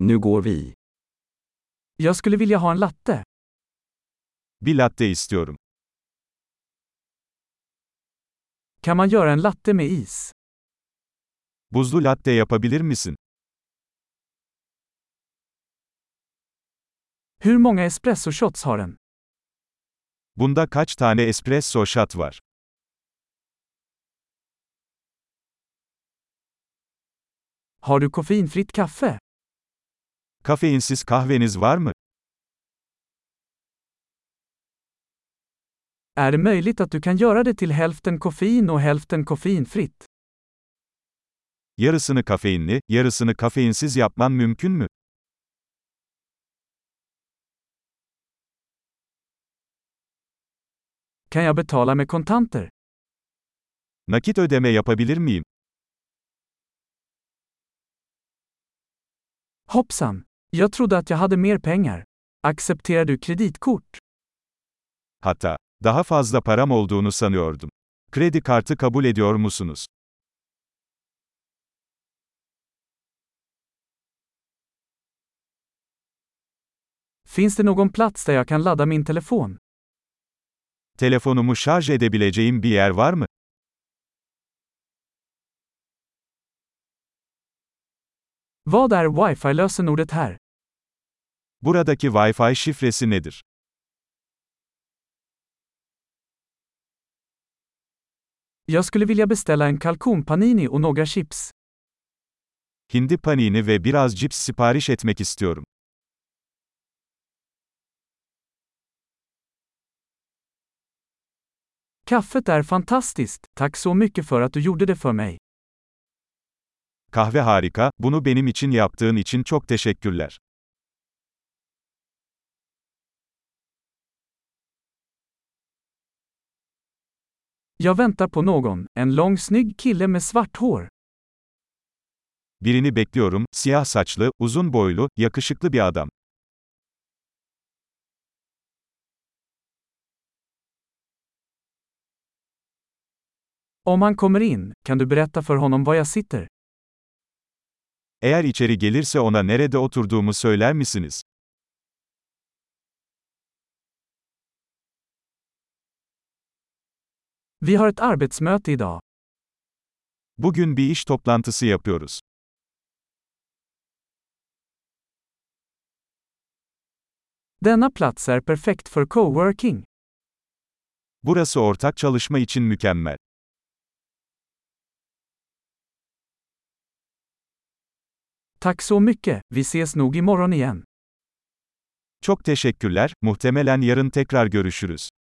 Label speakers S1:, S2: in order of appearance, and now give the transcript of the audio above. S1: Nu går vi.
S2: Jag skulle vilja ha en latte.
S3: Bir latte istiyorum.
S2: Kan man göra en latte med is?
S3: Buzlu latte yapabilir misin?
S2: Hur många espresso shots har den?
S3: Bunda kaç tane espresso shot var?
S2: Har du koffeinfritt kaffe?
S3: Kafeinsiz kahveniz var mı?
S2: Är det möjligt att du kan göra det till hälften koffein och hälften koffeinfritt?
S3: Yarısını kafeinli, yarısını kafeinsiz yapman mümkün mü?
S2: Kan jag betala med kontanter?
S3: Nakit ödeme yapabilir miyim?
S2: Hoppsan! Jag trodde att jag hade mer pengar. Accepterar du kreditkort?
S3: Hatta, daha fazla param olduğunu sanıyordum. Kredi kartı kabul ediyor musunuz?
S2: Finns det någon plats där jag kan ladda min telefon?
S3: Telefonumu şarj edebileceğim bir yer var mı?
S2: Vad är wifi-lösenordet här?
S3: Buradaki Wi-Fi şifresi nedir?
S2: Jag skulle vilja beställa en kalkonpanini och några chips.
S3: Hindi panini ve biraz cips sipariş etmek istiyorum.
S2: Kaffet är fantastiskt, tack så mycket för att du gjorde det för mig.
S3: Kahve harika, bunu benim için yaptığın için çok teşekkürler.
S2: Jag väntar på någon, en lång snygg kille med svart hår.
S3: Birini bekliyorum, siyah saçlı, uzun boylu, yakışıklı bir adam.
S2: Om han kommer in, kan du berätta för honom var jag sitter?
S3: Eğer içeri gelirse ona nerede oturduğumu söyler misiniz?
S2: Vi har ett arbetsmöte idag.
S3: Bugün bir iş toplantısı yapıyoruz.
S2: Denna plats är perfekt för coworking.
S3: Burası ortak çalışma için mükemmel.
S2: Tack så mycket, vi ses nog imorgon igen.
S3: Çok teşekkürler, muhtemelen yarın tekrar görüşürüz.